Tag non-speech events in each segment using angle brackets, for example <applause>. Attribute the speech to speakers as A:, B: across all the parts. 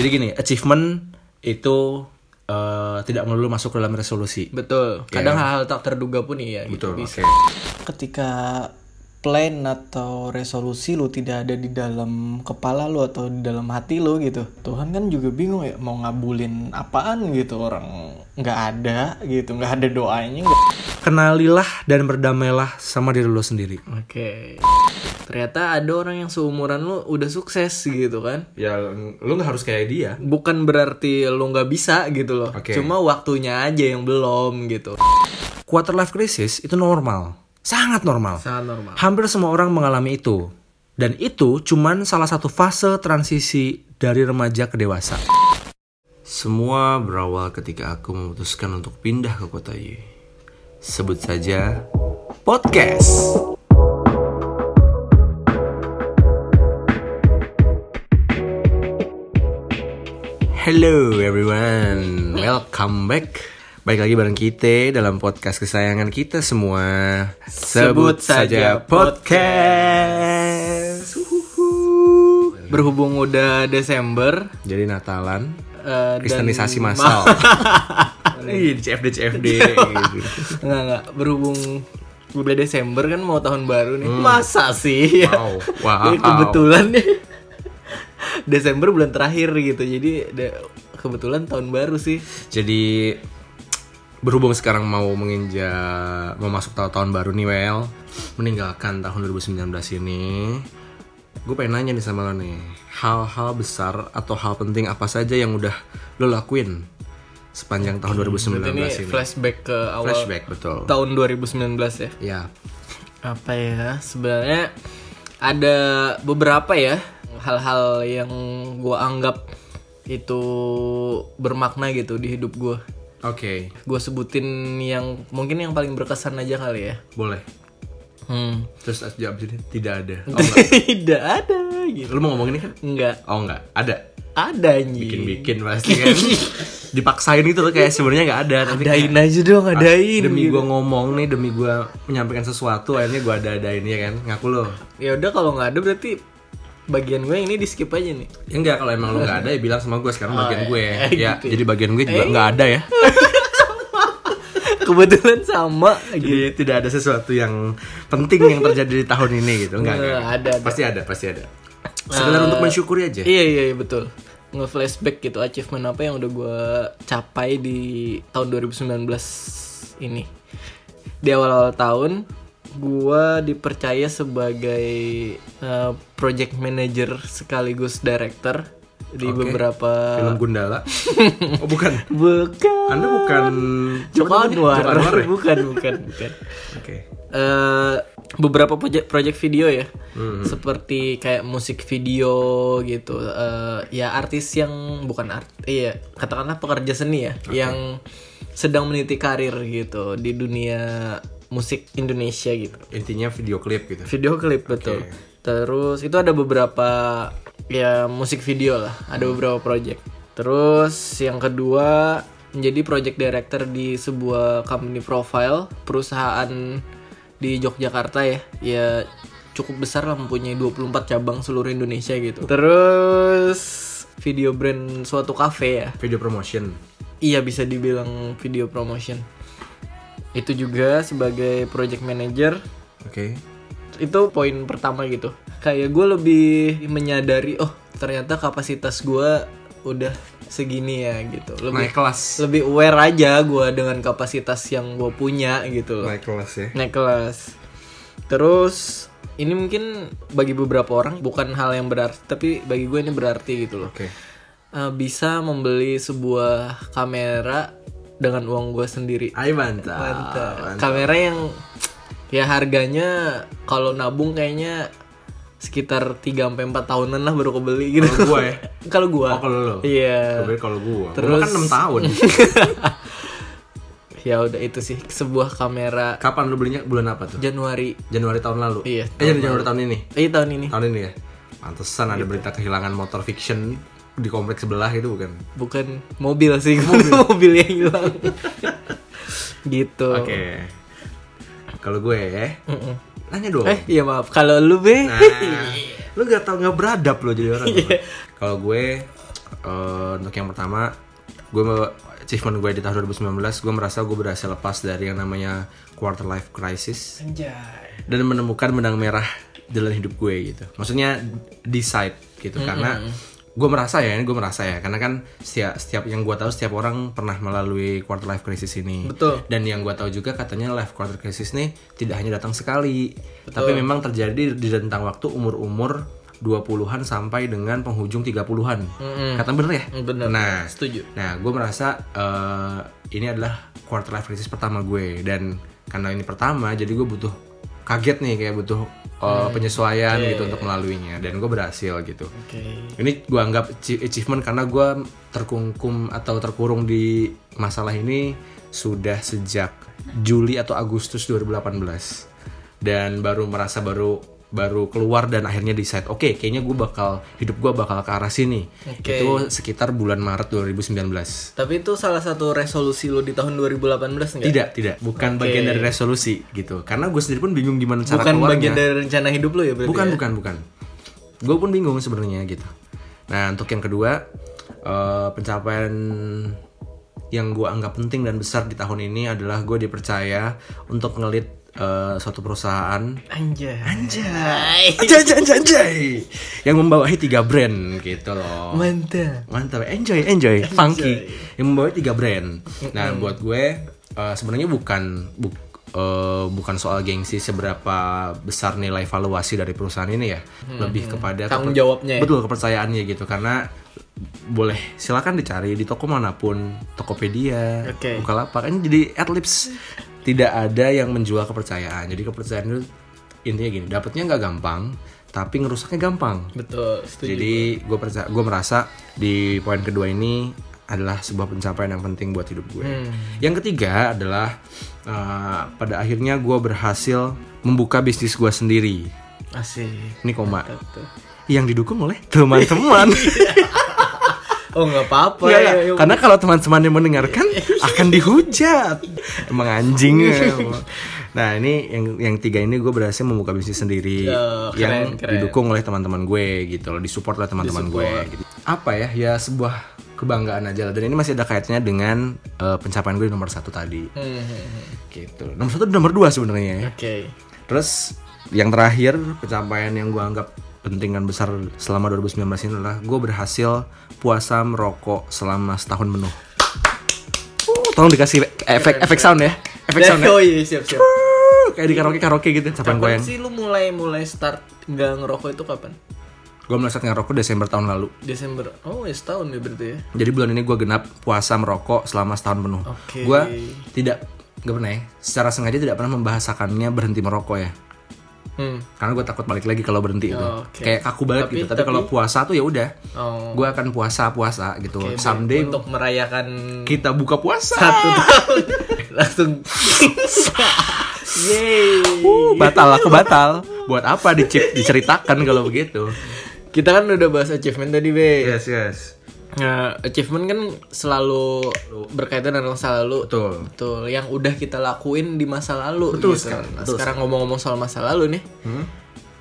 A: Jadi gini, achievement itu eh, tidak melulu masuk dalam resolusi.
B: Betul. Kadang hal-hal tak terduga pun iya
A: Betul.
B: gitu. Bisa.
A: Oke.
C: ketika plan atau resolusi lu tidak ada di dalam kepala lu atau di dalam hati lu gitu Tuhan kan juga bingung ya mau ngabulin apaan gitu orang nggak ada gitu nggak ada doanya nggak-
A: Kenalilah dan berdamailah sama diri lu sendiri.
B: Oke. Ternyata ada orang yang seumuran lu udah sukses gitu kan.
A: Ya lu nggak harus kayak dia.
B: Bukan berarti lu nggak bisa gitu loh.
A: Oke.
B: Cuma waktunya aja yang belum gitu.
A: Quarter life crisis itu normal. Sangat normal.
B: Sangat normal.
A: Hampir semua orang mengalami itu. Dan itu cuman salah satu fase transisi dari remaja ke dewasa.
D: Semua berawal ketika aku memutuskan untuk pindah ke kota Y. Sebut saja podcast. Hello everyone, welcome back. Baik lagi bareng kita dalam podcast kesayangan kita semua.
B: Sebut saja
D: podcast. Uhuhu.
A: Iya.
B: Berhubung udah Desember
D: Jadi Natalan,
B: eh, dan- Iya,
D: Kristenisasi massal. Iya, Ih, CFD CFD.
B: <laughs>
D: gitu.
B: Enggak enggak berhubung udah Desember kan mau tahun baru nih. Masa sih?
D: Wow, Hmm. wow.
B: <laughs> Jadi kebetulan nih Desember bulan terakhir gitu. Jadi ada- kebetulan tahun baru sih.
D: Jadi berhubung sekarang mau menginjak mau masuk tahun tahun baru nih Wel, meninggalkan tahun 2019 ini, gue pengen nanya nih sama lo nih, hal-hal besar atau hal penting apa saja yang udah lo lakuin sepanjang tahun 2019
B: Ini
D: ini?
B: flashback ke awal
D: Flashback betul.
B: tahun 2019 ya.
D: Ya,
B: Apa ya? Sebenarnya ada beberapa ya hal-hal yang gua anggap itu bermakna gitu di hidup gua.
D: oke,
B: Gua sebutin yang mungkin yang paling berkesan aja kali ya.
D: boleh.
B: Hmm.
D: Terus jawab jadi tidak ada. Oh,
B: Tidak ada gitu.
D: lo mau ngomong ini kan?
B: Enggak
D: Oh enggak, ada.
B: ada anjing.
D: bikin-bikin pasti kan dipaksain gitu loh kayak sebenarnya nggak ada tapi kayak,
B: Adain aja dong,
D: "Ah,
B: adain.
D: demi gue
B: gitu.
D: ngomong nih demi gue menyampaikan sesuatu akhirnya gue ada adain ya kan ngaku lo
B: Ya udah kalau nggak ada berarti bagian gue yang ini di skip aja nih. <laughs>
D: ya enggak kalau emang lo nggak ada ya bilang sama gue sekarang bagian gue ya
B: gitu ya.
D: jadi bagian gue juga nggak ada ya
B: Kebetulan sama gitu.
D: jadi tidak ada sesuatu yang penting yang terjadi di tahun ini gitu enggak,
B: Nggak,
D: enggak.
B: ada, ada.
D: pasti ada Eh, pasti ada sekedar untuk mensyukuri aja
B: Iya iya iya, betul. Nge-flashback gitu achievement apa yang udah gue capai di tahun 2019 ini. Di awal-awal tahun gue dipercaya sebagai eh, project manager sekaligus director di
D: Oke.
B: beberapa
D: film Gundala oh bukan
B: Bukan.
D: anda bukan
B: Joko Anwar.
D: Joko Anwar ya?
B: bukan, bukan, bukan.
D: oke
B: Eh, beberapa proyek proyek video ya. Seperti kayak musik video gitu. Eh, ya artis yang bukan art iya, katakanlah pekerja seni ya yang sedang meniti karir gitu di dunia musik Indonesia gitu
D: intinya video klip gitu
B: video klip betul terus itu ada beberapa ya musik video lah ada beberapa project terus yang kedua menjadi project director di sebuah company profile perusahaan di Yogyakarta ya ya cukup besar lah mempunyai 24 cabang seluruh Indonesia gitu terus video brand suatu cafe ya
D: video promotion
B: Iya bisa dibilang video promotion Itu juga sebagai project manager
D: oke
B: itu poin pertama gitu kayak gue lebih menyadari oh ternyata kapasitas gue udah segini ya gitu lebih
D: naik kelas
B: lebih aware aja gue dengan kapasitas yang gue punya gitu loh
D: naik kelas ya
B: naik kelas terus ini mungkin bagi beberapa orang bukan hal yang berarti tapi bagi gue ini berarti gitu loh
D: oke
B: Eh, bisa membeli sebuah kamera dengan uang gue sendiri
D: ayo mantap
B: Mantap. Ah, Kamera yang ya harganya kalau nabung kayaknya sekitar 3 sampai 4 tahunan lah baru kebeli gitu.
D: Kalau gua ya?
B: <laughs> kalau gua.
D: Oh, kalau lo?
B: Iya.
D: Kebetulan kalau gua terus
B: Terus-
D: kan 6 tahun <laughs>
B: Ya udah itu sih sebuah kamera
D: kapan lu belinya bulan apa tuh
B: Januari
D: Januari tahun lalu
B: Iya,
D: eh Januari, Januari tahun ini
B: eh tahun ini.
D: tahun ini ya pantesan ada berita kehilangan motor fiction di kompleks sebelah itu bukan
B: Bukan mobil sih, <laughs> mobil, mobil yang
D: <laughs>
B: hilang. gitu.
D: oke kalau gue ya nanya dong
B: Eh, iya maaf. Kalau lu be
D: <laughs> Iya. Nah, lu gak tau nggak beradab lo jadi orang. Kalau gue Eh, untuk yang pertama, gue achievement gue di tahun 2019 gue merasa gue berhasil lepas dari yang namanya quarter life crisis
B: Anjay.
D: dan menemukan benang merah jalan hidup gue gitu. Maksudnya decide gitu karena gue merasa ya, ini gue merasa ya karena kan setiap setiap yang gue tahu setiap orang pernah melalui quarter life crisis ini.
B: Betul.
D: Dan yang gue tahu juga katanya life quarter crisis nih tidak hanya datang sekali, tapi memang terjadi di rentang waktu umur-umur 20-an sampai dengan penghujung 30-an. Kata bener ya?
B: Bener.
D: Nah,
B: Setuju.
D: Nah, gue merasa eh, ini adalah quarter life crisis pertama gue dan karena ini pertama, jadi gue butuh kaget nih kayak butuh eh,
B: Hmm.
D: penyesuaian
B: Iya,
D: gitu untuk melaluinya dan gue berhasil gitu.
B: Oke.
D: Ini gue anggap achi- achievement karena gue terkungkum atau terkurung di masalah ini sudah sejak Juli atau Agustus 2018 dan baru merasa baru baru keluar dan akhirnya decide oke kayaknya gue bakal hidup gue bakal ke arah sini
B: Oke.
D: itu sekitar bulan Maret 2019
B: Tapi itu salah satu resolusi lu di tahun 2018 enggak?
D: Tidak, tidak. Bukan bagian dari resolusi gitu. Karena gue sendiri pun bingung gimana cara
B: bukan
D: keluarnya.
B: bagian dari rencana hidup lu ya berarti.
D: bukan,
B: ya?
D: bukan, bukan. Gue pun bingung sebenarnya gitu. Nah, untuk yang kedua, eh, pencapaian yang gue anggap penting dan besar di tahun ini adalah gue dipercaya untuk ngelit eh, suatu perusahaan
B: Anjay. Anjay.
D: Anjay, anjay, anjay, anjay. yang membawahi tiga brand gitu loh
B: Mantap.
D: mantap enjoy enjoy funky yang membawa tiga brand nah buat gue eh, sebenarnya bukan bu- eh, bukan soal gengsi seberapa besar nilai valuasi dari perusahaan ini ya lebih kepada
B: Tanggung
D: keper-
B: jawabnya ya?
D: betul kepercayaannya gitu karena boleh silakan dicari di toko manapun Tokopedia
B: Oke.
D: Bukalapak ini jadi at least tidak ada yang menjual kepercayaan jadi kepercayaan itu intinya gini dapatnya nggak gampang tapi ngerusaknya gampang
B: Betul, setuju.
D: jadi gue percaya, gue merasa di poin kedua ini adalah sebuah pencapaian yang penting buat hidup gue. Yang ketiga adalah uh, pada akhirnya gue berhasil membuka bisnis gue sendiri.
B: asik.
D: Ini koma
B: Tuh.
D: yang didukung oleh teman-teman.
B: Oh, nggak apa-apa
D: Nggak,
B: ya.
D: nggak.
B: yuk.
D: Iya, Karena kalau teman-teman yang mendengarkan akan dihujat. Emang anjing.
B: Iya.
D: nah ini yang yang tiga ini gue berhasil membuka bisnis sendiri
B: Oh,
D: yang
B: keren, keren.
D: didukung oleh teman-teman gue gitu loh, disupport oleh teman-teman gue. gitu. Apa ya? Ya sebuah kebanggaan aja lah. Dan ini masih ada kaitannya dengan eh, pencapaian gue di nomor satu tadi.
B: Hmm, hmm, hmm.
D: Gitu. Nomor satu dan nomor dua sebenarnya. ya.
B: Oke.
D: Terus yang terakhir pencapaian yang gue anggap penting dan besar selama 2019 ini adalah gue berhasil puasa merokok selama setahun penuh. Uh, Tolong dikasih efek efek sound ya, efek sound ya.
B: Oh iya, siap, siap.
D: Uh, Kayak di karaoke karaoke gitu, sampai gue
B: Kapan
D: yang
B: sih lu mulai mulai start nggak ngerokok itu kapan?
D: gue melesat ngerokok Desember tahun lalu.
B: Desember. Oh, ya setahun ya berarti ya.
D: Jadi bulan ini gue genap puasa merokok selama setahun penuh.
B: Oke.
D: Gue tidak nggak pernah ya, secara sengaja tidak pernah membahasakannya berhenti merokok ya.
B: Hmm.
D: Karena gue takut balik lagi kalau berhenti itu.
B: Oh, Oke.
D: Kayak kaku banget
B: Tapi-
D: gitu. Tapi, kalau puasa tuh ya udah.
B: Oh.
D: gue akan puasa puasa gitu
B: oke,
D: someday
B: untuk merayakan
D: kita buka puasa
B: satu tahun <laughs> langsung yeay
D: Uh, batal aku batal buat apa dicip diceritakan kalau begitu
B: kita kan udah bahas achievement tadi be
D: yes yes
B: Nah, achievement kan selalu berkaitan dengan masa lalu
D: Betul.
B: betul yang udah kita lakuin di masa lalu
D: Betul
B: gitu.
D: sekali,
B: Nah,
D: betul
B: sekarang ngomong-ngomong soal masa lalu nih
D: Hmm?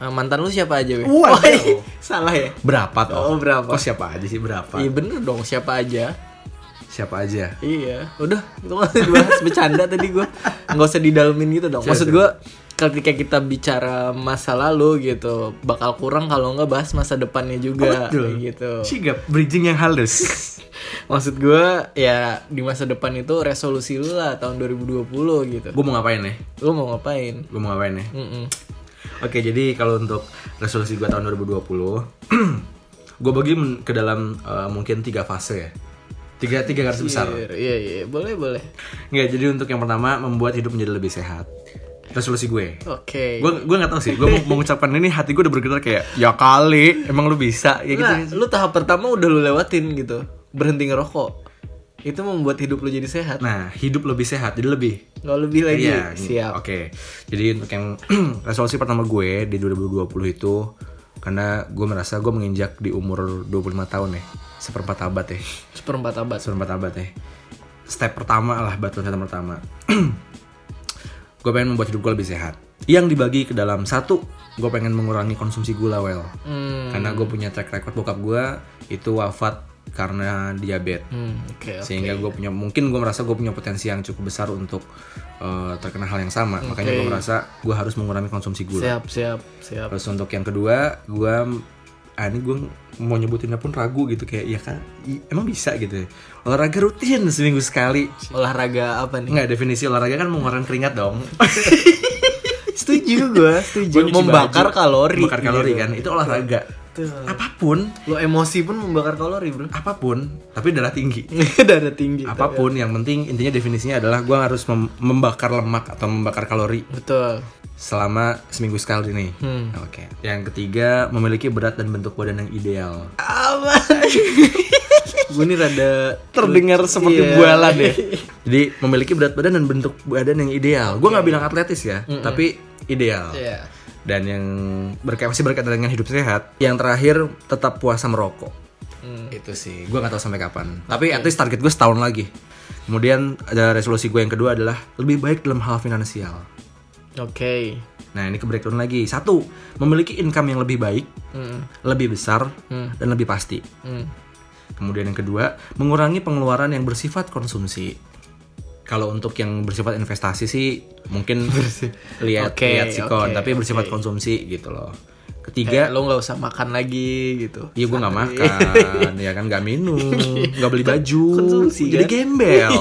B: eh, mantan lu siapa aja be
D: Waduh.
B: Oh, iya. salah ya
D: berapa toh
B: <laughs> Oh, berapa?
D: kok siapa aja sih berapa
B: iya bener dong siapa aja
D: siapa aja
B: Iya, udah itu nggak usah dibahas
D: <laughs>
B: bercanda tadi gue nggak usah didalemin gitu dong. Maksud gue ketika kita bicara masa lalu gitu bakal kurang kalau nggak bahas masa depannya juga kayak gitu.
D: sigap bridging yang halus
B: Maksud gue ya di masa depan itu resolusi lu lah tahun 2020 gitu.
D: gue mau ngapain ya
B: Lu mau ngapain?
D: gue mau ngapain ya
B: Mm-mm.
D: oke jadi kalau untuk resolusi gue tahun <clears throat> 2020 gue bagi men- ke dalam eh, mungkin tiga fase ya tiga tiga garis besar
B: Iya, Iya iya boleh boleh.
D: nggak jadi untuk yang pertama membuat hidup menjadi lebih sehat resolusi gue
B: Oke.
D: gue gue nggak tahu sih gue
B: <laughs>
D: mau mengucapkan ini hati gue udah bergetar kayak ya kali emang lu bisa ya
B: Nah,
D: gitu
B: lu tahap pertama udah lu lewatin gitu berhenti ngerokok itu membuat hidup lu jadi sehat.
D: nah hidup lebih sehat jadi lebih
B: Nggak lebih lagi
D: Iya,
B: siap.
D: oke jadi untuk yang <clears throat> resolusi pertama gue di 2020 itu karena gue merasa gue menginjak di umur 25 tahun ya seperempat abad ya
B: Seperempat abad.
D: seperempat abad ya step pertama lah batu loncatan pertama <clears throat> gue pengen membuat hidup gue lebih sehat yang dibagi ke dalam satu gue pengen mengurangi konsumsi gula well
B: Hmm.
D: karena gue punya track record bokap gue itu wafat karena diabetes.
B: Hmm, oke. oke.
D: Sehingga gue punya mungkin gue merasa gue punya potensi yang cukup besar untuk eh, terkena hal yang sama.
B: Hmm,
D: Makanya gue merasa gue harus mengurangi konsumsi gula.
B: Siap, siap, siap.
D: Terus untuk yang kedua, gue ah, ini gue mau nyebutinnya pun ragu gitu kayak ya kan i- emang bisa gitu ya. Olahraga rutin seminggu sekali.
B: Olahraga apa nih? <laughs>
D: Enggak definisi olahraga kan mengeluarkan keringat dong.
B: setuju gue, setuju.
D: <laughs> Gua nyuci
B: Membakar
D: baju,
B: kalori.
D: Membakar kalori
B: gitu.
D: kan itu olahraga.
B: Betul.
D: Apapun,
B: Lo emosi pun membakar kalori, Bro. <laughs>
D: apapun, tapi darah tinggi.
B: Darah
D: Gitu,
B: tinggi.
D: apapun yang penting intinya definisinya adalah gua harus mem- membakar lemak atau membakar kalori
B: Betul.
D: selama seminggu sekali nih. <laughs>
B: Hmm.
D: Oke. Yang ketiga memiliki berat dan bentuk badan yang ideal.
B: Gue nih rada
D: Terdengar seperti
B: Iya.
D: bualan ya. <laughs> Jadi memiliki berat badan dan bentuk badan yang ideal. Gua nggak bilang atletis ya, tapi ideal.
B: <laughs> Iya.
D: Dan yang berkait masih berkaitan dengan hidup sehat. Yang terakhir tetap puasa merokok. Itu sih. Gua nggak tahu sampai kapan. Tapi at least target gue setahun lagi. Kemudian ada resolusi gue yang kedua adalah lebih baik dalam hal finansial.
B: Oke.
D: Nah ini ke breakdown lagi. Satu, memiliki income yang lebih baik,
B: Mm,
D: lebih besar,
B: Hmm.
D: dan lebih pasti.
B: mm.
D: Kemudian yang kedua, mengurangi pengeluaran yang bersifat konsumsi. Kalau untuk yang bersifat investasi sih
B: <laughs>
D: mungkin lihat
B: Oke,
D: lihat sikon,
B: oke,
D: tapi bersifat
B: oke.
D: konsumsi gitu loh.
B: Kayak
D: Ketiga,
B: lo nggak usah makan lagi gitu.
D: Iya gue gak makan, ya kan gak minum,
B: <laughs>
D: gak beli baju,
B: Konsumsi,
D: jadi
B: kan? <laughs>
D: gembel.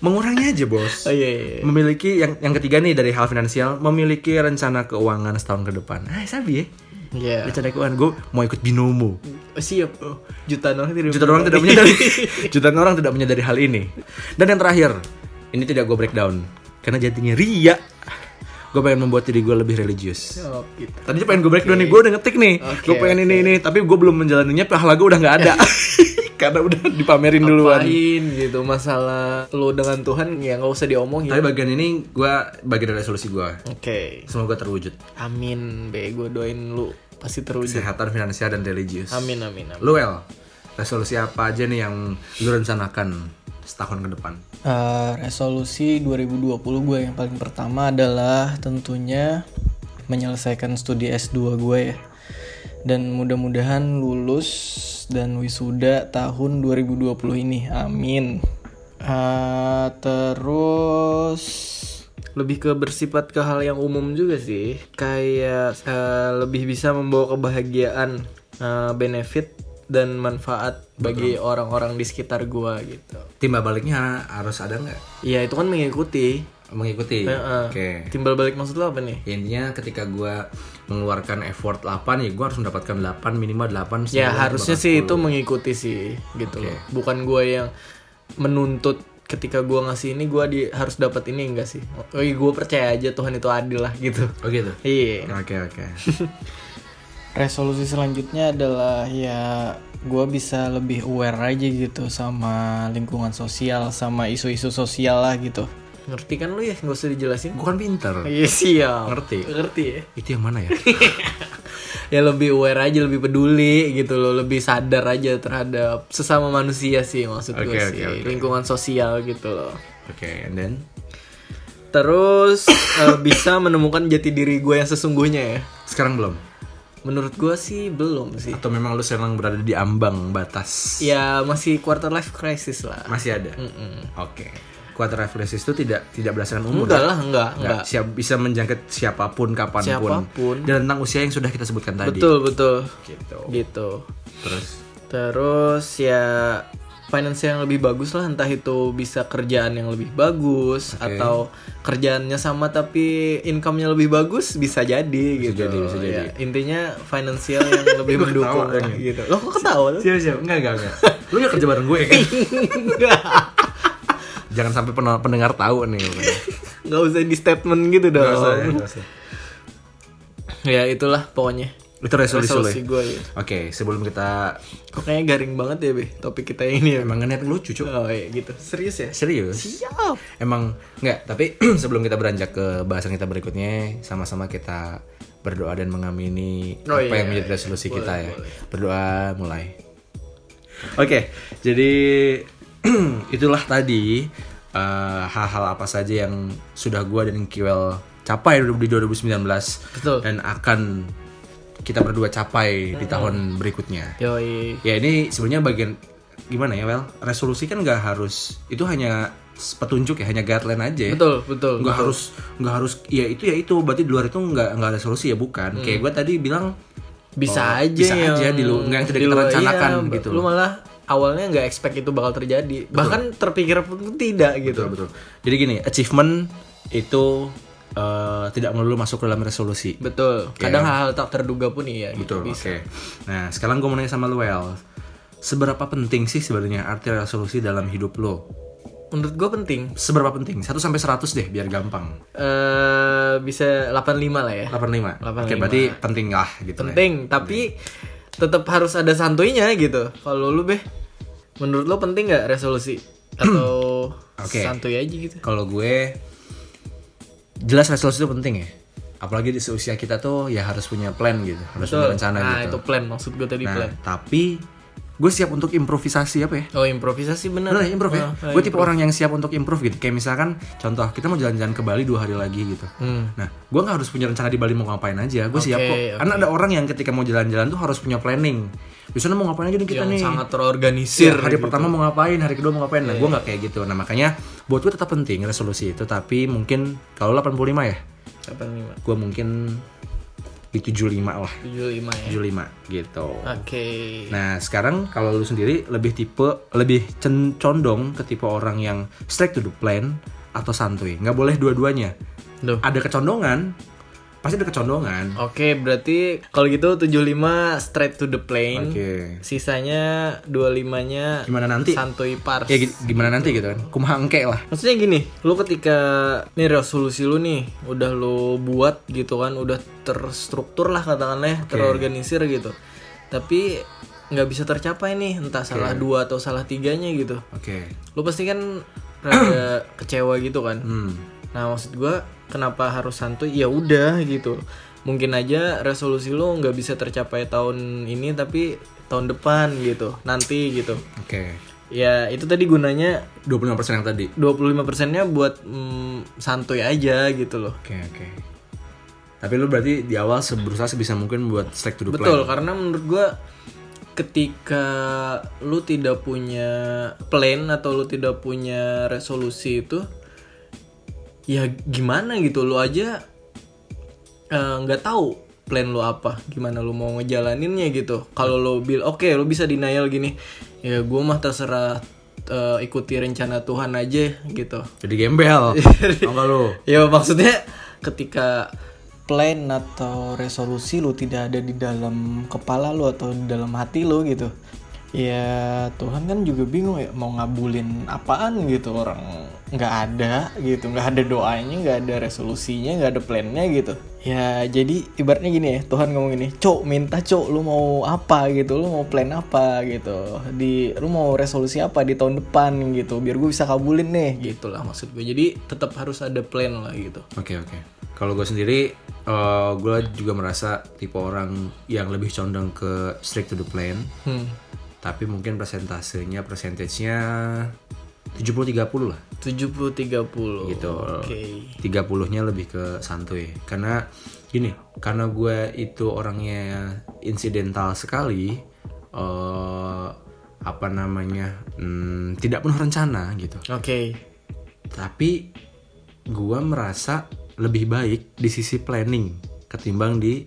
D: Mengurangi aja bos.
B: Oh iya, iya, iya.
D: Memiliki yang yang ketiga nih dari hal finansial, memiliki rencana keuangan setahun ke depan. Ah sabi ya,
B: Iya.
D: rencana keuangan gue mau ikut binomo.
B: Oh, siap. Oh, jutaan orang tidak
D: Jutaan orang tidak menyadari,
B: <laughs>
D: <laughs> jutaan orang tidak menyadari hal ini. Dan yang terakhir, ini tidak gue breakdown karena jadinya ria. Gue pengen membuat diri gue lebih religius.
B: Oh, gitu.
D: Tadinya pengen gue breakdown nih, gue udah ngetik nih,
B: Oke,
D: gue pengen ini ini, tapi gue belum menjalaninya, pahala gue udah nggak
B: <laughs>
D: ada, <laughs> karena udah dipamerin duluan.
B: Apain gitu masalah lo dengan Tuhan ya nggak usah diomongin.
D: Tapi
B: Oke.
D: bagian ini gue bagian dari solusi gue, semoga terwujud
B: Amin, be gue doain lu pasti terwujud.
D: kesehatan finansial dan religius.
B: Amin amin amin.
D: Lu El, resolusi apa aja nih yang lu rencanakan setahun ke depan?
C: Eh, resolusi 2020 gue yang paling pertama adalah tentunya menyelesaikan studi S2 gue ya. Dan mudah-mudahan lulus dan wisuda tahun 2020 ini. Amin. Eh, terus
B: Lebih ke bersifat ke hal yang umum juga sih. Kayak eh, lebih bisa membawa kebahagiaan, eh, benefit dan manfaat bagi orang-orang di sekitar gua gitu.
D: Timba baliknya harus ada nggak?
B: Iya itu kan mengikuti.
D: Mengikuti.
B: Heeh.
D: Oke.
B: Timbal balik maksud lo apa nih?
D: Ya, intinya ketika gua mengeluarkan effort 8 ya gua harus mendapatkan 8 minimal 8
B: Ya
D: semoga
B: harusnya
D: bahkan
B: sih itu mengikuti sih gitu
D: Oke.
B: loh. Bukan gue yang menuntut ketika gue ngasih ini gue di harus dapat ini enggak sih? Oh, gue percaya aja Tuhan itu adil lah gitu. <laughs>
D: 10. Oh gitu.
B: Iya.
D: Oke oke.
C: resolusi selanjutnya adalah ya gue bisa lebih aware aja gitu sama lingkungan sosial, sama isu-isu sosial lah gitu.
B: Ngerti kan lu ya? Gak usah dijelasin.
D: Gua kan pinter.
B: Iya siap.
D: Ngerti.
B: Ngerti ya.
D: Itu yang <laughs> mana ya?
B: Ya lebih aware aja, lebih peduli gitu loh, lebih sadar aja terhadap sesama manusia sih maksud gue
D: Oke, oke,
B: sih.
D: oke.
B: Lingkungan sosial gitu loh.
D: Oke, and then
B: Terus <coughs> eh, bisa menemukan jati diri gue yang sesungguhnya ya.
D: sekarang belum?
B: Menurut gue sih belum sih.
D: Atau memang lu sedang berada di ambang batas?
B: Ya masih quarter life crisis lah.
D: Masih ada. Oke. Quarter life crisis itu tidak tidak berdasarkan umur. ya?
B: Enggak lah, enggak, enggak.
D: Enggak, siap bisa menjangkit siapapun kapanpun.
B: Siapapun.
D: Dan tentang usia yang sudah kita sebutkan tadi.
B: Betul, betul.
D: Gitu.
B: Gitu.
D: Terus
B: Terus ya finance yang lebih bagus lah entah itu bisa kerjaan yang lebih bagus atau kerjaannya sama tapi income-nya lebih bagus bisa jadi gitu.
D: jadi, bisa jadi.
B: Ya, intinya finansial
D: <laughs>
B: yang lebih
D: Gua
B: mendukung
D: ketawa, kan?
B: gitu. Lo kok
D: <laughs>
B: ketawa? lo?
D: Siap siap, enggak enggak enggak. <laughs> Lu gak kerja bareng gue kan? Jangan sampai pen- pendengar tahu nih.
B: Nggak usah di statement gitu dong.
D: Nggak usah, ya, nggak usah.
B: Ya itulah pokoknya.
D: Itu resolusi, lu
B: Resolusi
D: ya?
B: gue ya.
D: Oke, sebelum kita
B: Kok kayaknya garing banget ya, Be, topik kita ini
D: <laughs>
B: ya.
D: emang niat lucu, Cuk.
B: Oh iya gitu. Serius ya?
D: Serius?
B: Siap.
D: Emang enggak, tapi <clears throat> sebelum kita beranjak ke bahasan kita berikutnya, sama-sama kita berdoa dan mengamini
B: Oh,
D: apa
B: iya,
D: yang menjadi
B: iya.
D: resolusi
B: Boleh,
D: kita ya.
B: boleh.
D: Berdoa mulai. Oke, jadi <clears throat> itulah tadi eh, hal-hal apa saja yang sudah gua dan Kiwel capai di 2019
B: Betul.
D: dan akan kita berdua capai di tahun berikutnya.
B: Yoi.
D: Ya ini sebenarnya bagian gimana ya well resolusi kan nggak harus itu hanya petunjuk ya hanya guideline aja ya.
B: Betul, betul.
D: nggak harus nggak harus ya itu ya itu berarti di luar itu nggak nggak ada solusi ya bukan kayak gue tadi bilang
B: Bisa
D: oh,
B: aja
D: bisa
B: yang
D: aja di lu nggak yang tidak
B: di
D: kita
B: luar-
D: rencanakan
B: iya,
D: gitu
B: Lu malah awalnya nggak expect itu bakal terjadi. Bahkan terpikir pun tidak gitu.
D: betul betul jadi gini achievement itu eh, tidak melulu masuk ke dalam resolusi
B: Betul. Kadang hal-hal tak terduga pun iya gitu.
D: Betul, oke.
B: Bisa.
D: Nah, sekarang gue mau nanya sama Luel. Seberapa penting sih sebenarnya arti resolusi dalam hidup lo?
B: Menurut gue penting.
D: Seberapa penting? 1 sampai 100 deh biar gampang.
B: eh bisa 85 lah ya.
D: 85.
B: 85.
D: Oke, berarti penting lah gitu ya.
B: Penting, tapi tetap harus ada santuinya gitu. Kalau lu beh, menurut lu penting nggak resolusi atau
D: <clears throat> Oke.
B: santuy aja gitu?
D: Kalau gue jelas resolusi itu penting ya. Apalagi di seusia kita tuh ya harus punya plan gitu, harus punya rencana
B: nah,
D: gitu.
B: itu plan maksud gue tadi
D: nah,
B: plan.
D: tapi gue siap untuk improvisasi apa ya?
B: Oh, improvisasi bener.
D: Bener ya, improv ya.
B: Oh, oh,
D: gue tipe orang yang siap untuk improv gitu. Kayak misalkan contoh kita mau jalan-jalan ke Bali dua hari lagi gitu. Nah, gue nggak harus punya rencana di Bali mau ngapain aja. Gue siap
B: Hmm. Oke,
D: kok. Karena ada orang yang ketika mau jalan-jalan tuh harus punya planning. Biasanya mau ngapain aja nih kita
B: yang
D: nih.
B: sangat terorganisir. gitu.
D: Iya, hari pertama mau ngapain, hari kedua mau ngapain. Nah, gue nggak kayak gitu. Nah, makanya buat gue tetap penting resolusi itu. Tapi mungkin kalau 85 ya,
B: 85,
D: gue mungkin di 75 lah.
B: 75 ya.
D: 75 gitu.
B: Oke.
D: Nah, sekarang kalau lu sendiri lebih tipe lebih cen- condong ke tipe orang yang straight to the plan atau santuy. Nggak boleh dua-duanya.
B: Duh.
D: Ada kecondongan, pasti ada kecondongan.
B: Oke, berarti kalau gitu 75 straight to the plane.
D: Oke.
B: Sisanya 25-nya
D: Gimana nanti?
B: santuy pars.
D: Ya gi- gimana nanti gitu kan? Kumaha engke lah.
B: Maksudnya gini, lu ketika nih resolusi lu nih udah lu buat gitu kan, udah terstruktur lah katakanlah, ya, terorganisir gitu. Tapi nggak bisa tercapai nih, entah salah dua atau salah tiganya gitu.
D: Oke.
B: Lu pasti kan rada
D: <clears throat>
B: kecewa gitu kan.
D: Hmm.
B: Nah maksud gua kenapa harus santuy? Ya udah gitu. Mungkin aja resolusi lu nggak bisa tercapai tahun ini, tapi tahun depan gitu, nanti gitu.
D: Oke.
B: Ya itu tadi gunanya
D: 25% yang tadi.
B: 25%-nya buat mm, santuy aja gitu loh.
D: Oke, oke. Tapi lu berarti di awal se- berusaha sebisa mungkin buat straight to the
B: Betul,
D: plan.
B: karena menurut gua ketika lu tidak punya plan atau lu tidak punya resolusi itu ya gimana gitu lu aja eh, nggak tahu plan lu apa, gimana lu mau ngejalaninnya gitu. Kalau lu bil oke lu bisa denial gini. Ya gua mah terserah eh, ikuti rencana Tuhan aja gitu.
D: Jadi gembel. <laughs> Tau nggak lu?
B: Ya maksudnya ketika
C: Iya, plan atau resolusi lu tidak ada di dalam kepala lu atau di dalam hati lu gitu ya Tuhan kan juga bingung ya mau ngabulin apaan gitu orang nggak ada gitu nggak ada doanya nggak ada resolusinya nggak ada plannya gitu ya jadi ibaratnya gini ya Tuhan ngomong gini cok minta cok lu mau apa gitu lu mau plan apa gitu di lu mau resolusi apa di tahun depan gitu biar gue bisa kabulin nih gitu
B: gitulah maksud gue. Jadi tetap harus ada plan lah gitu.
D: Oke oke. Kalau gue sendiri, gue juga merasa tipe orang yang lebih condong ke straight to the plan.
B: Hmm.
D: Tapi mungkin presentasenya, persentasenya 70-30 lah.
B: 70 30.
D: Gitu.
B: Oke.
D: 30-nya lebih ke santuy. Karena gini, karena gue itu orangnya insidental sekali. eh, apa namanya? hmm, tidak penuh rencana gitu.
B: Oke.
D: tapi gua merasa lebih baik di sisi planning ketimbang di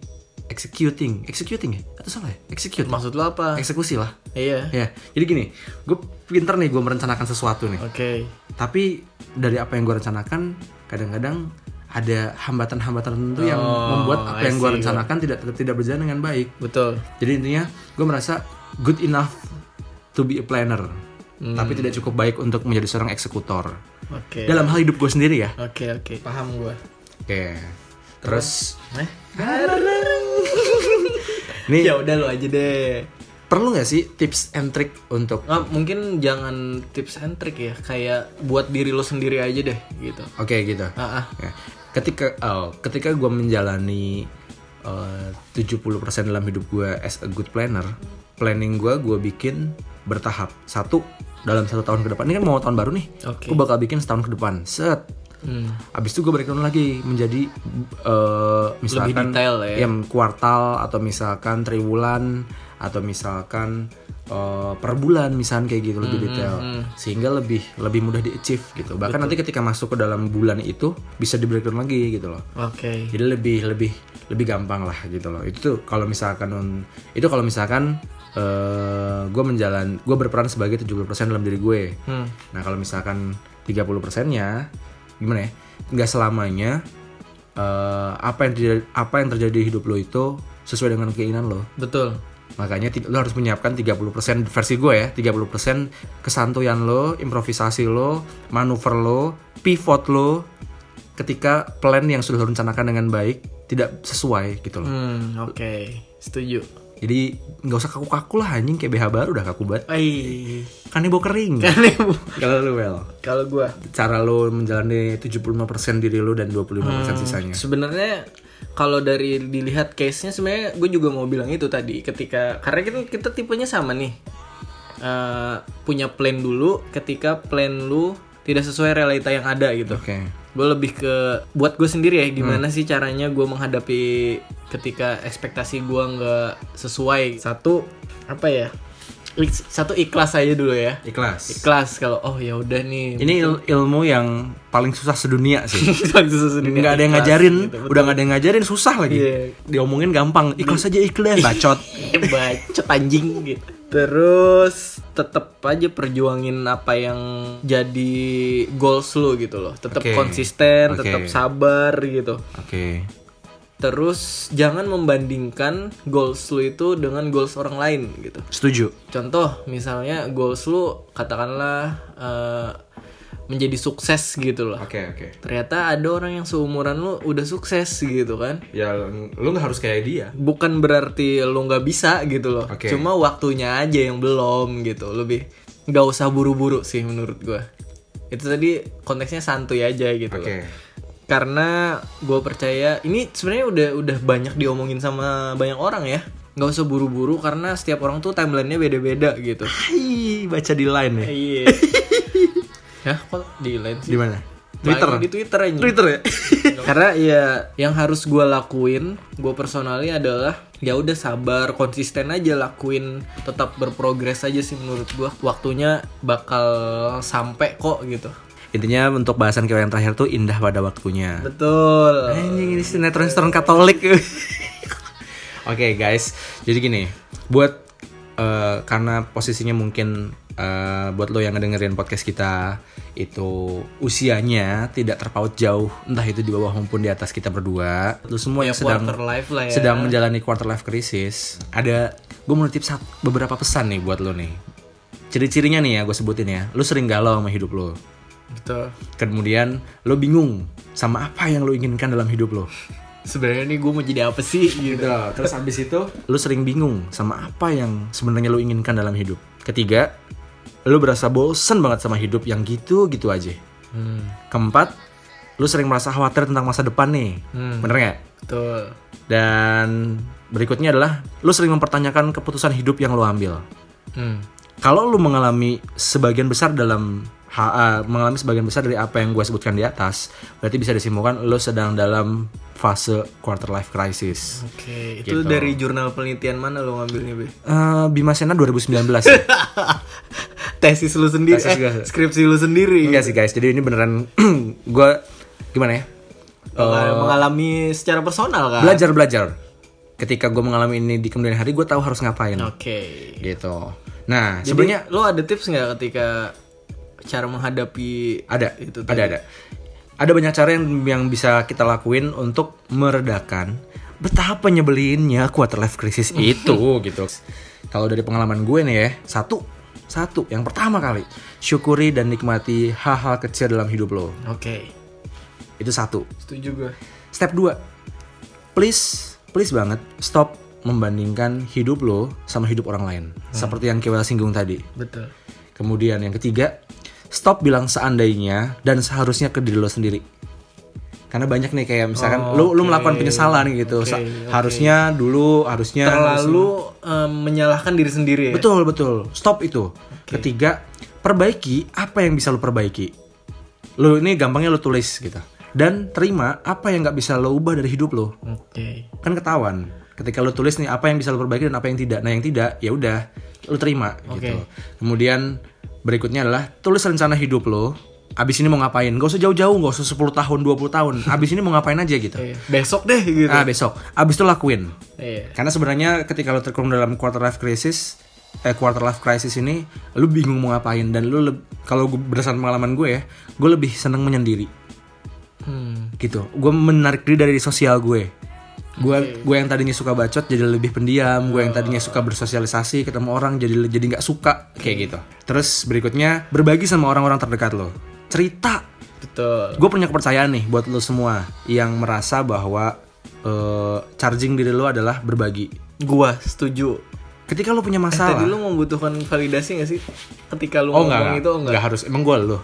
D: executing executing ya atau salah ya execute
B: Maksud lo apa?
D: eksekusi lah
B: Iya.
D: ya jadi gini gue pinter nih gue merencanakan sesuatu nih
B: Oke.
D: tapi dari apa yang gue rencanakan kadang-kadang ada hambatan-hambatan tertentu yang membuat apa yang gue rencanakan tidak tidak berjalan dengan baik
B: Betul.
D: jadi intinya gue merasa good enough to be a planner tapi tidak cukup baik untuk menjadi seorang eksekutor
B: Oke.
D: dalam hal hidup gue sendiri ya
B: Oke, oke. Paham gue.
D: Oke. Terus
B: Eh.
D: nih
B: Ya udah lo aja deh.
D: perlu nggak sih tips and trick untuk
B: Nah, mungkin jangan tips and trick ya, kayak buat diri lo sendiri aja deh gitu.
D: Oke gitu.
B: Ah, ah.
D: Ya. Ketika oh, ketika gue menjalani eh, 70% dalam hidup gue as a good planner, planning gue gue bikin bertahap. Satu dalam satu tahun ke depan. Ini kan mau tahun baru nih.
B: Oke. Hmm,
D: Gue bakal bikin setahun ke depan. Set. Abis itu gue breakdown lagi menjadi eh, misalkan Iya.
B: detail ya.
D: yang kuartal atau misalkan triwulan atau misalkan eh, per bulan misalkan kayak gitu lebih detail sehingga lebih lebih mudah di achieve gitu. Bahkan nanti ketika masuk ke dalam bulan itu bisa di breakdown lagi gitu loh.
B: Oke.
D: Jadi lebih lebih lebih gampang lah gitu loh. Itu tuh kalau misalkan un- itu kalau misalkan eh gue menjalan gue berperan sebagai 70% dalam diri gue. Nah, kalau misalkan 30%-nya gimana ya? Nggak selamanya eh apa yang terjadi, apa yang terjadi di hidup lo itu sesuai dengan keinginan lo.
B: Betul.
D: Makanya ti- lo harus menyiapkan 30% versi gue ya, 30% kesantuyan lo, improvisasi lo, manuver lo, pivot lo ketika plan yang sudah lo rencanakan dengan baik tidak sesuai gitu loh.
B: Hmm, oke. Setuju.
D: Jadi nggak usah kaku-kaku lah anjing kayak BH baru udah kaku banget.
B: Ai.
D: Kan ibu kering.
B: Aneh, Bu.
D: Kalau lu well.
B: <laughs> Kalau gua
D: Cara lo menjalani 75% diri lo dan 25% sisanya.
B: sebenarnya kalau dari dilihat case-nya sebenarnya gue juga mau bilang itu tadi ketika karena kita kita tipenya sama nih. Eh, punya plan dulu ketika plan lu tidak sesuai realita yang ada gitu.
D: Oke.
B: gue lebih ke buat gue sendiri ya
D: Hmm.
B: gimana sih caranya gue menghadapi ketika ekspektasi gue nggak sesuai satu apa ya ik- satu ikhlas aja dulu ya
D: Ikhlas.
B: ikhlas kalau oh ya udah nih <laughs>
D: Ini il- ilmu yang paling susah sedunia sih.
B: nggak
D: nggak ada gitu, yang ngajarin udah nggak ada yang ngajarin susah lagi
B: Iya.
D: diomongin gampang ikhlas aja ikhlas bacot
B: <laughs> bacot anjing gitu terus tetep aja perjuangin apa yang jadi goals lu gitu loh tetap
D: Oke.
B: konsisten
D: Oke.
B: tetap sabar gitu
D: oke
B: Terus jangan membandingkan goals lu itu dengan goals orang lain gitu.
D: setuju
B: Contoh misalnya goals lu katakanlah eh, menjadi sukses gitu loh.
D: oke oke
B: Ternyata ada orang yang seumuran lu udah sukses gitu kan.
D: ya lu nggak harus kayak dia
B: Bukan berarti lu nggak bisa gitu loh.
D: Oke.
B: Cuma waktunya aja yang belum gitu. Lebih nggak usah buru-buru sih menurut gua. Itu tadi konteksnya santuy aja gitu loh.
D: oke
B: karena gue percaya ini sebenarnya udah udah banyak diomongin sama banyak orang ya nggak usah buru-buru karena setiap orang tuh timelinenya beda-beda gitu
D: Hai, baca di line ya
B: iya ya kok di lain
D: di
B: sih
D: mana Twitter
B: Main di Twitter aja
D: Twitter ya
B: <laughs> karena ya yang harus gue lakuin gue personally adalah ya udah sabar konsisten aja lakuin tetap berprogres aja sih menurut gue waktunya bakal sampai kok gitu
D: intinya untuk bahasan kita yang terakhir tuh indah pada waktunya
B: betul
D: Anjing ini sinetron sinetron <laughs> Katolik. Oke guys, jadi gini, buat eh, karena posisinya mungkin eh, buat lo yang ngedengerin podcast kita itu usianya tidak terpaut jauh, entah itu di bawah maupun di atas kita berdua. Lo semua yang sedang
B: quarter life lah ya.
D: sedang menjalani quarter life crisis, ada gue mau nitip sat- beberapa pesan nih buat lo nih. Ciri-cirinya nih ya gue sebutin ya, lo sering galau sama hidup lo.
B: betul
D: Kemudian lo bingung sama apa yang lo inginkan dalam hidup lo.
B: sebenarnya nih gue mau jadi apa sih gitu
D: Gitu. Terus abis itu lu sering bingung sama apa yang sebenarnya lu inginkan dalam hidup. Ketiga, lu berasa bosen banget sama hidup yang gitu-gitu aja.
B: Hmm,
D: Keempat, lu sering merasa khawatir tentang masa depan nih. Bener nggak?
B: betul
D: Dan berikutnya adalah lu sering mempertanyakan keputusan hidup yang lu ambil.
B: hmm.
D: Kalau lu mengalami sebagian besar dalam HA, eh, mengalami sebagian besar dari apa yang gue sebutkan di atas, berarti bisa disimpulkan lu sedang dalam fase quarter life crisis.
B: oke
D: Gitu.
B: itu dari jurnal penelitian mana lo ngambilnya be
D: Eh, Bima Sena 2019 ya?
B: <laughs> tesis lu sendiri
D: Tesis
B: eh,
D: gua.
B: skripsi lu sendiri
D: Enggak sih guys, jadi ini beneran <clears throat> gue gimana ya?
B: Mengal- mengalami secara personal kan
D: Oh. Belajar belajar. Ketika gue mengalami ini di kemudian hari, gue tahu harus ngapain.
B: oke
D: Gitu. Nah,
B: jadi
D: sebenarnya
B: lo ada tips nggak ketika cara menghadapi
D: ada,
B: itu
D: ada, ada, ada banyak cara yang yang bisa kita lakuin untuk meredakan betapa nyebelinnya quarter life
B: <laughs>
D: crisis itu gitu. Kalau dari pengalaman gue nih ya, satu, satu, yang pertama kali, syukuri dan nikmati hal-hal kecil dalam hidup lo.
B: oke
D: Itu satu.
B: setuju gue
D: Step 2 Please, please banget stop membandingkan hidup lo sama hidup orang lain Seperti yang Kewel singgung tadi
B: betul
D: Kemudian yang ketiga Stop bilang seandainya dan seharusnya ke diri lo sendiri karena banyak nih kayak misalkan lo lo melakukan penyesalan gitu Sa- harusnya dulu harusnya
B: terlalu eh, menyalahkan diri sendiri ya
D: Betul, betul. Stop itu. Ketiga, perbaiki apa yang bisa lu perbaiki. Lu ini gampangnya lu tulis gitu. Dan terima apa yang nggak bisa lo ubah dari hidup lo.
B: Oke.
D: Kan ketahuan. Ketika lo tulis nih apa yang bisa lo perbaiki dan apa yang tidak. Nah, yang tidak ya udah lo terima gitu. Kemudian berikutnya adalah tulis rencana hidup lo. Abis ini mau ngapain? Gak usah jauh-jauh, gak usah 10 tahun, 20 tahun. Abis ini mau ngapain aja gitu.
B: Iya. Besok deh gitu.
D: Nah, besok. Abis itu lakuin.
B: Iya.
D: Karena sebenarnya ketika lo terkurung dalam quarter life crisis, eh quarter life crisis ini, lo bingung mau ngapain dan lo leb- kalau gue- berdasarkan pengalaman gue ya, gue lebih seneng menyendiri
B: Hmm.
D: gitu. Gue menarik diri dari sosial gue. Gue gue yang tadinya suka bacot jadi lebih pendiam, gue yang tadinya suka bersosialisasi, ketemu orang jadi jadi nggak suka kayak gitu. Terus berikutnya berbagi sama orang-orang terdekat lo. Cerita
B: Betul.
D: gue punya kepercayaan nih buat lo semua yang merasa bahwa eh, charging diri lo adalah berbagi.
B: Gua setuju.
D: Ketika lo punya masalah,
B: Eh, Tadi lu membutuhkan validasi gak sih? Ketika lu
D: oh
B: ngomong
D: enggak,
B: itu oh, enggak.
D: harus emang gue lo.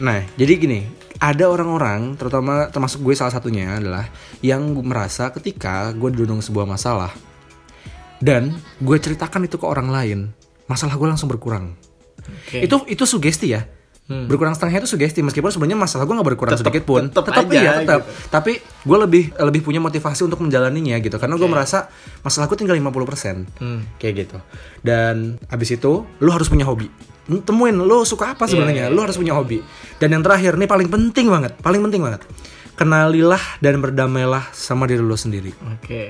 D: Nah, jadi gini, ada orang-orang, terutama termasuk gue salah satunya adalah yang merasa ketika gue didorong sebuah masalah dan gue ceritakan itu ke orang lain, masalah gue langsung berkurang.
B: Oke. Hmm.
D: Itu itu sugesti ya. Berkurang setengahnya itu sugesti meskipun sebenarnya masalah gue nggak berkurang
B: Tetep-
D: sedikit pun.
B: tetep aja gitu.
D: iya, tetep. Tapi gue lebih lebih punya motivasi untuk menjalaninya gitu karena gue merasa masalah gue tinggal 50%.
B: Hmm.
D: Kayak gitu. Dan abis itu lu harus punya hobi. Temuin lu suka
B: Iya,
D: apa sebenarnya. Lu harus punya hobi. Dan yang terakhir nih paling penting banget, paling penting banget. Kenalilah dan berdamailah sama diri lu sendiri.
B: <laughs> Oke.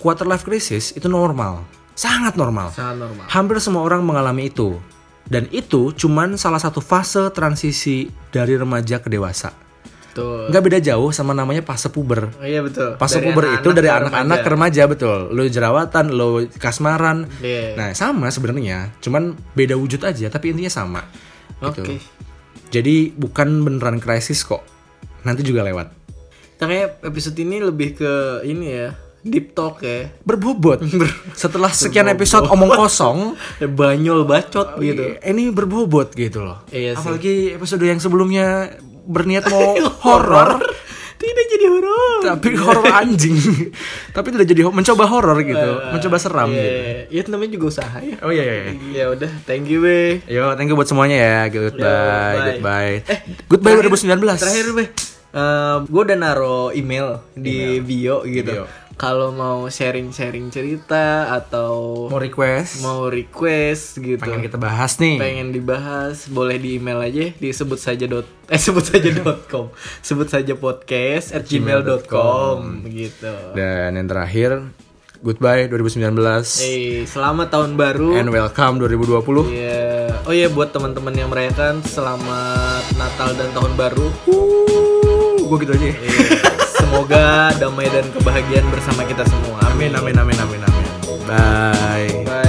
D: Quarter life crisis itu normal. Sangat normal.
B: Sangat normal.
D: Hampir semua orang mengalami itu. Dan itu cuman salah satu fase transisi dari remaja ke dewasa.
B: Betul.
D: Nggak beda jauh sama namanya fase puber.
B: Oh, iya betul.
D: Fase
B: Dari
D: puber itu dari
B: ke
D: anak-anak kan. ke
B: remaja.
D: remaja betul. Lo jerawatan, lo kasmaran.
B: Iya.
D: Nah sama sebenarnya, cuman beda wujud aja, tapi intinya sama. Gitu.
B: Oke.
D: Jadi bukan beneran krisis kok. Nanti juga lewat.
B: Kita kayak episode ini lebih ke ini ya, deep talk ya. <laughs>
D: Berbobot. Setelah sekian episode omong kosong,
B: Ya, Banyol bacot gitu.
D: Iya, Ini berbobot gitu loh.
B: Iya sih.
D: Apalagi episode yang sebelumnya berniat
B: <laughs>
D: mau horor
B: <laughs> Tidak jadi horor.
D: tapi horor anjing. <laughs> tapi tidak jadi ho- mencoba horor gitu, mencoba seram
B: Iya,
D: gitu.
B: iya. Iya, itu namanya juga usaha ya.
D: Oh iya iya. iya.
B: Ya udah, thank you, be.
D: Yo, thank you buat semuanya ya. Goodbye,
B: Yo, Eh,
D: goodbye. goodbye 2019.
B: Terakhir be, gue udah naro email di bio
D: Bio.
B: gitu. Kalau mau sharing-sharing cerita atau
D: mau request,
B: mau request gitu,
D: pengen kita bahas nih.
B: pengen dibahas, boleh di email aja di sebut saja dot <laughs> eh sebut saja dot com, sebut saja podcast at gmail.com gitu.
D: Dan yang terakhir, goodbye 2019
B: Eh, selamat tahun baru.
D: and welcome 2020.
B: Iya. Oh iya buat teman-teman yang merayakan selamat Natal dan tahun baru.
D: Gue gitu aja. ya.
B: Iya.
D: <laughs>
B: Semoga damai dan kebahagiaan bersama kita semua.
D: Amin amin amin amin amin. Bye.
B: Bye.